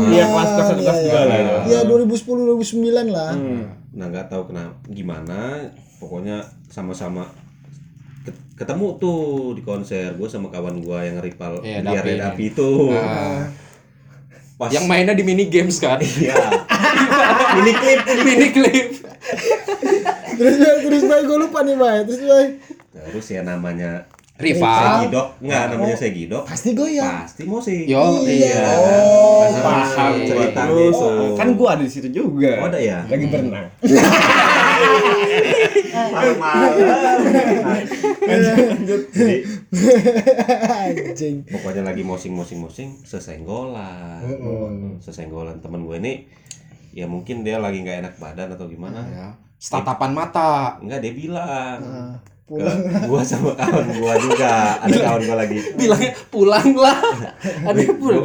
[SPEAKER 3] Iya,
[SPEAKER 4] kelas-kelas satu, kelas dua lah ya.
[SPEAKER 3] Iya, 2010 2009 lah.
[SPEAKER 1] nah nggak tahu kenapa gimana pokoknya sama-sama ket- ketemu tuh di konser gue sama kawan gue yang rival
[SPEAKER 2] Iya,
[SPEAKER 1] biliar
[SPEAKER 2] Dapi
[SPEAKER 1] ya,
[SPEAKER 2] ini.
[SPEAKER 1] Dapi itu
[SPEAKER 2] Nah,
[SPEAKER 1] pas
[SPEAKER 2] ya. yang mainnya di mini games kan
[SPEAKER 1] iya ini klip
[SPEAKER 2] mini clip
[SPEAKER 3] Terus Bay, terus Bay gue lupa nih Bay. Terus Bay.
[SPEAKER 1] terus ya namanya
[SPEAKER 3] Iya.
[SPEAKER 2] rival
[SPEAKER 1] Segidok nggak namanya Segidok
[SPEAKER 3] Pasti goyang.
[SPEAKER 1] pasti mau sih
[SPEAKER 2] yo
[SPEAKER 3] Iya.
[SPEAKER 2] iya
[SPEAKER 1] oh
[SPEAKER 4] Paham ceritanya.
[SPEAKER 1] itu.
[SPEAKER 4] iya. kan gua ada Hmm. di situ juga.
[SPEAKER 1] Oh, ada ya?
[SPEAKER 4] Lagi berenang.
[SPEAKER 1] Jadi,
[SPEAKER 3] Anjing.
[SPEAKER 1] pokoknya lagi mosing-mosing-mosing sesenggolan sesenggolan temen gue ini ya mungkin dia lagi nggak enak badan atau gimana
[SPEAKER 2] Ya. tatapan mata
[SPEAKER 1] Enggak dia bilang
[SPEAKER 3] Nah,
[SPEAKER 1] ke gua sama kawan gua juga ada kawan gua lagi
[SPEAKER 2] bilangnya pulanglah ada yang pulang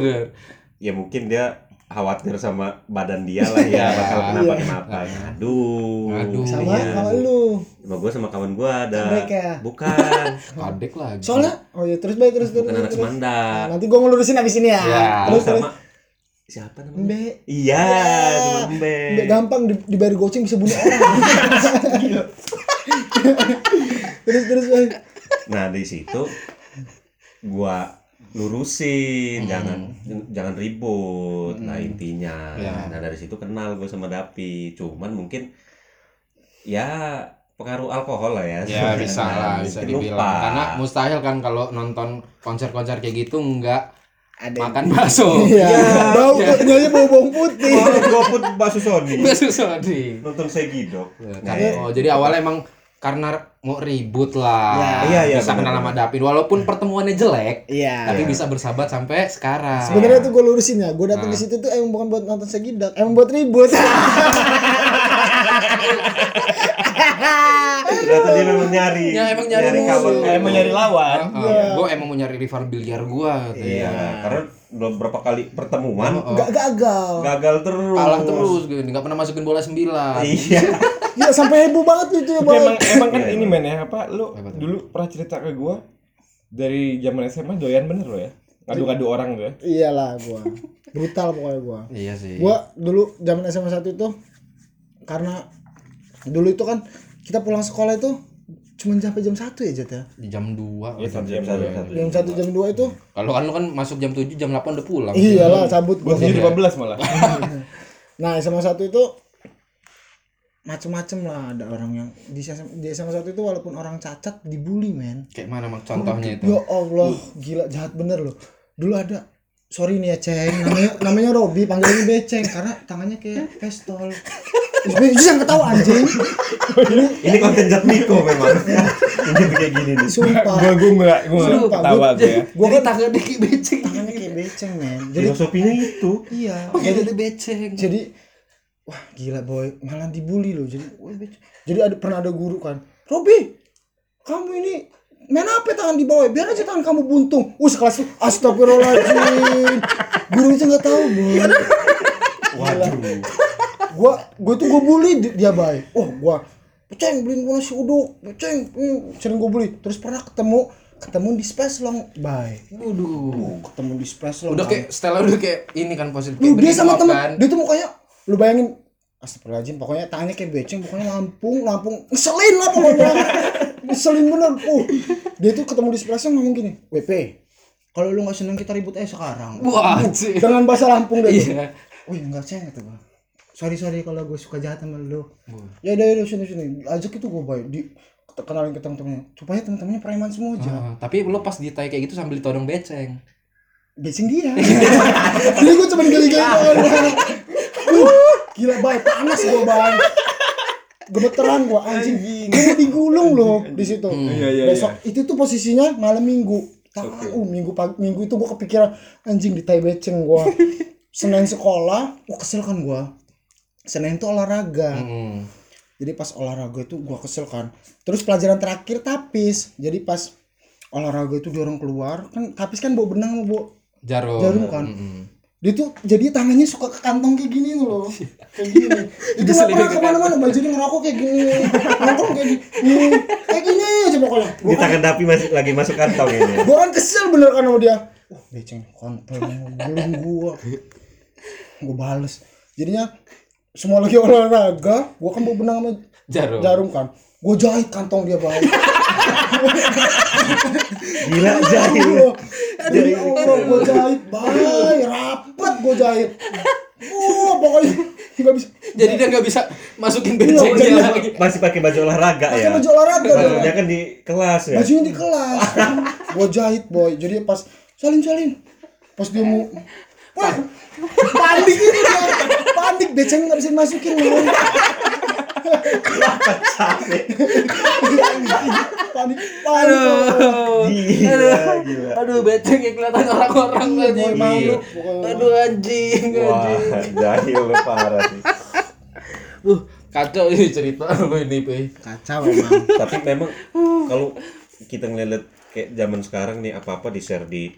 [SPEAKER 1] ya mungkin dia khawatir sama badan dia lah ya bakal kenapa kenapa aduh
[SPEAKER 2] Aduh.
[SPEAKER 3] Sama
[SPEAKER 1] iya.
[SPEAKER 3] sama lu.
[SPEAKER 1] sama gua sama kawan gua ada
[SPEAKER 3] Sambrek ya?
[SPEAKER 1] bukan
[SPEAKER 2] kadek lagi
[SPEAKER 3] Soalnya oh iya terus Bay terus terus.
[SPEAKER 1] bukan anak
[SPEAKER 3] terus.
[SPEAKER 1] Semandar
[SPEAKER 3] Nah, nanti gue ngelurusin abis ini ya.
[SPEAKER 2] Ya.
[SPEAKER 3] Terus terus.
[SPEAKER 1] sama siapa namanya
[SPEAKER 3] Mbak,
[SPEAKER 1] iya sama Mbe.
[SPEAKER 3] Nggak gampang di- dibayar goceng bisa bunuh orang. terus terus Bay.
[SPEAKER 1] nah di situ gua lurusin
[SPEAKER 2] Hmm.
[SPEAKER 1] jangan jangan ribut nah intinya
[SPEAKER 2] Ya.
[SPEAKER 1] nah dari situ kenal gue sama Dapi cuman mungkin ya pengaruh alkohol lah ya
[SPEAKER 2] Ya bisa lah, bisa
[SPEAKER 1] Mungkin
[SPEAKER 2] dibilang.
[SPEAKER 1] lupa.
[SPEAKER 2] Karena mustahil kan kalau nonton konser-konser kayak gitu nggak
[SPEAKER 3] Ada
[SPEAKER 2] makan bakso.
[SPEAKER 3] Iya. Bau nyanya bau bawang putih.
[SPEAKER 1] Oh, goput bakso Sony
[SPEAKER 2] Bakso Sony.
[SPEAKER 1] nonton Segidok
[SPEAKER 2] Ya,
[SPEAKER 1] Nah,
[SPEAKER 2] karena-
[SPEAKER 3] iya.
[SPEAKER 2] oh, jadi awalnya emang karena mau ribut lah.
[SPEAKER 1] Iya, iya,
[SPEAKER 2] Bisa kenal
[SPEAKER 1] benar.
[SPEAKER 2] sama David walaupun pertemuannya jelek,
[SPEAKER 3] Iya.
[SPEAKER 2] tapi bisa bersahabat sampai sekarang.
[SPEAKER 3] Sebenarnya tuh gue lurusin ya. Gue datang ke situ tuh emang bukan buat nonton segidak, emang buat ribut.
[SPEAKER 1] ternyata dia memang nyari gitu.
[SPEAKER 2] Ya, emang nyari
[SPEAKER 1] kawan
[SPEAKER 2] musuh.
[SPEAKER 4] Emang nyari
[SPEAKER 3] kan,
[SPEAKER 4] lawan.
[SPEAKER 3] iya.
[SPEAKER 2] gue emang mau nyari rival biliar gue. Gitu.
[SPEAKER 1] iya karena beberapa kali pertemuan
[SPEAKER 3] Gak gagal.
[SPEAKER 1] gagal terus
[SPEAKER 2] Oh, Kalah terus, gitu. nggak pernah masukin bola sembilan.
[SPEAKER 1] iya
[SPEAKER 3] Ya sampai heboh banget itu ya,
[SPEAKER 4] Tapi
[SPEAKER 3] Bang.
[SPEAKER 4] emang emang kan
[SPEAKER 1] Iya,
[SPEAKER 4] ini men ya apa lu
[SPEAKER 2] Apa tuh?
[SPEAKER 4] dulu pernah cerita ke gua dari zaman SMA doyan bener lo ya. Ngadu-ngadu orang tuh ya.
[SPEAKER 3] Iyalah gua. Brutal pokoknya gua.
[SPEAKER 2] Iya sih.
[SPEAKER 3] Gua dulu zaman SMA 1 itu karena dulu itu kan kita pulang sekolah itu cuma sampai jam 1 ya, Jat ya.
[SPEAKER 2] Di jam 2
[SPEAKER 1] satu jam satu satu
[SPEAKER 3] Jam 1 jam 2 itu
[SPEAKER 2] Kalau kan lu kan masuk jam 7, jam 8 udah pulang.
[SPEAKER 3] iyalah cabut
[SPEAKER 4] Gua
[SPEAKER 3] gua.
[SPEAKER 4] sendiri 15 malah.
[SPEAKER 3] Nah, SMA 1 itu macem-macem lah ada orang yang di SMA, di SMA 1 itu walaupun orang cacat dibully, men.
[SPEAKER 2] Kayak mana Mak, contohnya itu?
[SPEAKER 3] Ya Allah, gila jahat bener loh. Dulu ada sorry nih ya ceng namanya namanya Robi panggilannya beceng karena tangannya kayak pistol itu yang ketawa anjing
[SPEAKER 1] ini konten Jat Miko memang ini kayak gini nih
[SPEAKER 4] Gua
[SPEAKER 3] sumpah
[SPEAKER 4] gua enggak gua nggak
[SPEAKER 3] Sumpah,
[SPEAKER 4] ketawa
[SPEAKER 3] gua-
[SPEAKER 4] gua ya.
[SPEAKER 3] Gua
[SPEAKER 2] jadi
[SPEAKER 3] kan-
[SPEAKER 2] tangan Diki becek.
[SPEAKER 3] tangannya kayak beceng men jadi
[SPEAKER 1] filosofinya itu
[SPEAKER 3] iya
[SPEAKER 2] Pakai
[SPEAKER 3] jadi
[SPEAKER 2] jadi becek.
[SPEAKER 3] jadi wah gila boy malah dibully loh jadi wah, beceng. jadi ada pernah ada guru kan Robi kamu ini main apa tangan di bawah ya? biar aja tangan kamu buntung uh sekelas astagfirullahaladzim guru aja nggak tahu bu
[SPEAKER 5] Waduh.
[SPEAKER 3] gua gua tuh gua bully di- dia bay wah gua ceng beliin gua nasi uduk ceng hmm, sering gua bully terus pernah ketemu ketemu di space long bay waduh ketemu di space long
[SPEAKER 2] udah kayak Stella udah kayak ini kan positif
[SPEAKER 3] lu
[SPEAKER 2] thinking
[SPEAKER 3] dia sama
[SPEAKER 2] apa
[SPEAKER 3] temen
[SPEAKER 2] kan?
[SPEAKER 3] dia tuh mukanya lu bayangin astagfirullahaladzim pokoknya tangannya kayak beceng pokoknya lampung lampung ngeselin lah pokoknya ngeselin bener uh dia tuh ketemu di sebelah sana ngomong gini WP kalau lu nggak seneng kita ribut aja sekarang
[SPEAKER 2] Wah,
[SPEAKER 3] Uh,
[SPEAKER 2] cik.
[SPEAKER 3] dengan bahasa Lampung deh
[SPEAKER 2] Iya.
[SPEAKER 3] wih nggak ceng kata gua sorry sorry kalau gue suka jahat sama lu ya udah udah sini sini ajak itu gue baik di kenalin ke temen-temennya supaya temen-temennya preman semua aja
[SPEAKER 2] Ah, tapi lo pas ditai kayak gitu sambil ditodong beceng
[SPEAKER 3] Becing dia. Jadi gue cuma geli-geli doang. Uh, gila bay, panas gue bay. Gemeteran gue anjing. Gue mau digulung loh di situ.
[SPEAKER 4] Iya, iya,
[SPEAKER 3] Besok itu tuh posisinya malam minggu. Tangan, uh, minggu pagi, minggu itu gue kepikiran anjing di tai beceng gue. Senin sekolah, wah kesel kan gue. Senin tuh olahraga.
[SPEAKER 2] Hmm.
[SPEAKER 3] Jadi pas olahraga itu gua kesel kan. Terus pelajaran terakhir tapis. Jadi pas olahraga itu dorong keluar kan tapis kan bawa benang sama bawa
[SPEAKER 2] jarum
[SPEAKER 3] jarum kan
[SPEAKER 2] Mm-mm.
[SPEAKER 3] dia tuh jadi tangannya suka ke kantong kayak gini tuh loh kayak gini itu nggak pernah kemana-mana baju dia ngerokok kayak gini nongkrong kayak gini Hmm, kayak gini aja pokoknya
[SPEAKER 5] Ini tangan Dapi masih lagi masuk kantong ini.
[SPEAKER 3] gue kan kesel bener kan sama dia wah beceng kontol belum gua gue bales jadinya semua lagi olahraga gua kan bawa benang sama
[SPEAKER 2] jarum
[SPEAKER 3] jarum kan gue jahit kantong dia bang
[SPEAKER 5] Gila jahil.
[SPEAKER 3] Demi Allah gue jahit Bay rapet gue jahit Wah pokoknya nggak bisa
[SPEAKER 2] jadi dia nggak bisa masukin
[SPEAKER 3] Iya,
[SPEAKER 2] beceng
[SPEAKER 3] iya.
[SPEAKER 2] lagi
[SPEAKER 5] Masih pakai baju olahraga ya.
[SPEAKER 3] pakai Iya. Kan baju olahraga dia.
[SPEAKER 5] Bajunya kan di kelas ya.
[SPEAKER 3] bajunya di kelas gue jahit boy jadi pas salin salin pas dia mau wah pandik ini dia pandik beceng nggak bisa dimasukin loh pandik pandik
[SPEAKER 2] aduh
[SPEAKER 5] Gila, gila.
[SPEAKER 2] aduh beceng yang kelihatan orang-orang lagi
[SPEAKER 3] boy malu pokoknya.
[SPEAKER 2] aduh anjing
[SPEAKER 1] Iya.
[SPEAKER 5] Wah,
[SPEAKER 2] anjing
[SPEAKER 5] jahil lu parah sih.
[SPEAKER 2] uh kacau ini cerita lo ini pe
[SPEAKER 3] kacau emang
[SPEAKER 5] Tapi memang kalau kita ngeliat kayak zaman sekarang nih apa-apa di-share di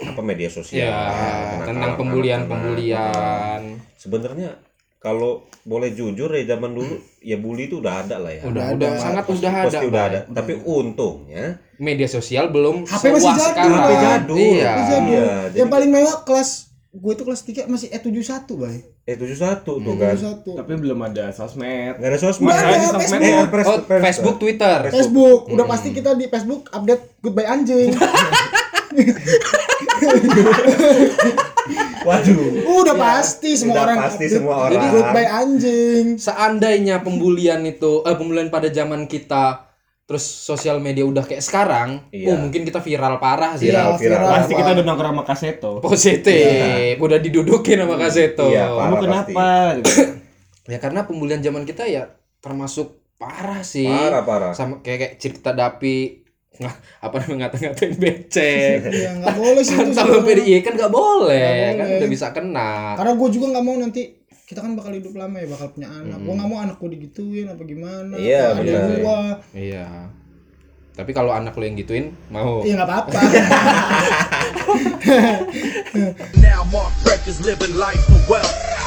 [SPEAKER 5] apa media sosial
[SPEAKER 1] Iya,
[SPEAKER 2] ya tentang pembulian pembulian
[SPEAKER 5] sebenarnya kalau boleh jujur ya zaman dulu ya bully itu udah ada
[SPEAKER 1] Iya,
[SPEAKER 5] lah ya
[SPEAKER 2] udah udah sangat udah ada
[SPEAKER 5] pasti udah
[SPEAKER 2] Bay.
[SPEAKER 5] ada tapi untungnya
[SPEAKER 2] media sosial belum
[SPEAKER 3] HP masih
[SPEAKER 2] sewah
[SPEAKER 3] jadul,
[SPEAKER 2] sekarang
[SPEAKER 5] HP jadul.
[SPEAKER 2] iya
[SPEAKER 3] Terus yang-
[SPEAKER 5] Iya,
[SPEAKER 3] yang
[SPEAKER 5] jadi-
[SPEAKER 3] paling mewah kelas gue itu kelas 3 masih E E71 bay
[SPEAKER 5] eh 71 tuh kan
[SPEAKER 3] E71
[SPEAKER 4] Tapi belum ada sosmed.
[SPEAKER 5] nggak ada sosmed
[SPEAKER 3] Nggak ada,
[SPEAKER 5] Eh,
[SPEAKER 3] Facebook.
[SPEAKER 5] eh, pres-
[SPEAKER 2] oh
[SPEAKER 5] pres-
[SPEAKER 2] Facebook Twitter
[SPEAKER 3] Facebook udah
[SPEAKER 5] Hmm.
[SPEAKER 3] pasti kita di Facebook update goodbye anjing
[SPEAKER 5] waduh
[SPEAKER 3] udah pasti semua
[SPEAKER 5] Iya. Udah
[SPEAKER 3] orang
[SPEAKER 5] pasti
[SPEAKER 3] update
[SPEAKER 5] semua
[SPEAKER 3] jadi
[SPEAKER 5] orang.
[SPEAKER 3] goodbye anjing
[SPEAKER 2] seandainya pembulian itu eh, pembulian pada zaman kita terus sosial media udah kayak sekarang,
[SPEAKER 5] Iya.
[SPEAKER 2] oh mungkin kita viral parah sih.
[SPEAKER 3] Iya,
[SPEAKER 5] Viral, viral.
[SPEAKER 4] Pasti kita udah nongkrong sama Kaseto.
[SPEAKER 2] Positif, udah didudukin sama Kaseto.
[SPEAKER 5] Iya,
[SPEAKER 4] Kamu
[SPEAKER 5] Parah pasti.
[SPEAKER 4] kenapa? Gitu.
[SPEAKER 2] Ya karena pembulian zaman kita ya termasuk parah sih.
[SPEAKER 5] parah parah
[SPEAKER 2] Sama kayak, kayak cerita Dapi nggak apa namanya ngata-ngatain becek.
[SPEAKER 3] ya nggak boleh sih itu
[SPEAKER 2] Sama
[SPEAKER 3] sebenarnya.
[SPEAKER 2] PDI kan nggak boleh,
[SPEAKER 3] Nggak
[SPEAKER 2] kan
[SPEAKER 3] boleh.
[SPEAKER 2] udah bisa kena.
[SPEAKER 3] karena gue juga nggak mau nanti kita kan bakal hidup lama ya bakal punya anak gue nggak mau anak gue digituin apa gimana
[SPEAKER 5] Hmm. Iya,
[SPEAKER 3] apa
[SPEAKER 5] benar.
[SPEAKER 3] gue
[SPEAKER 2] Iya. Tapi kalau anak lo yang gituin mau.
[SPEAKER 3] ya nggak apa-apa
[SPEAKER 6] Now Mark Beck is living life for wealth.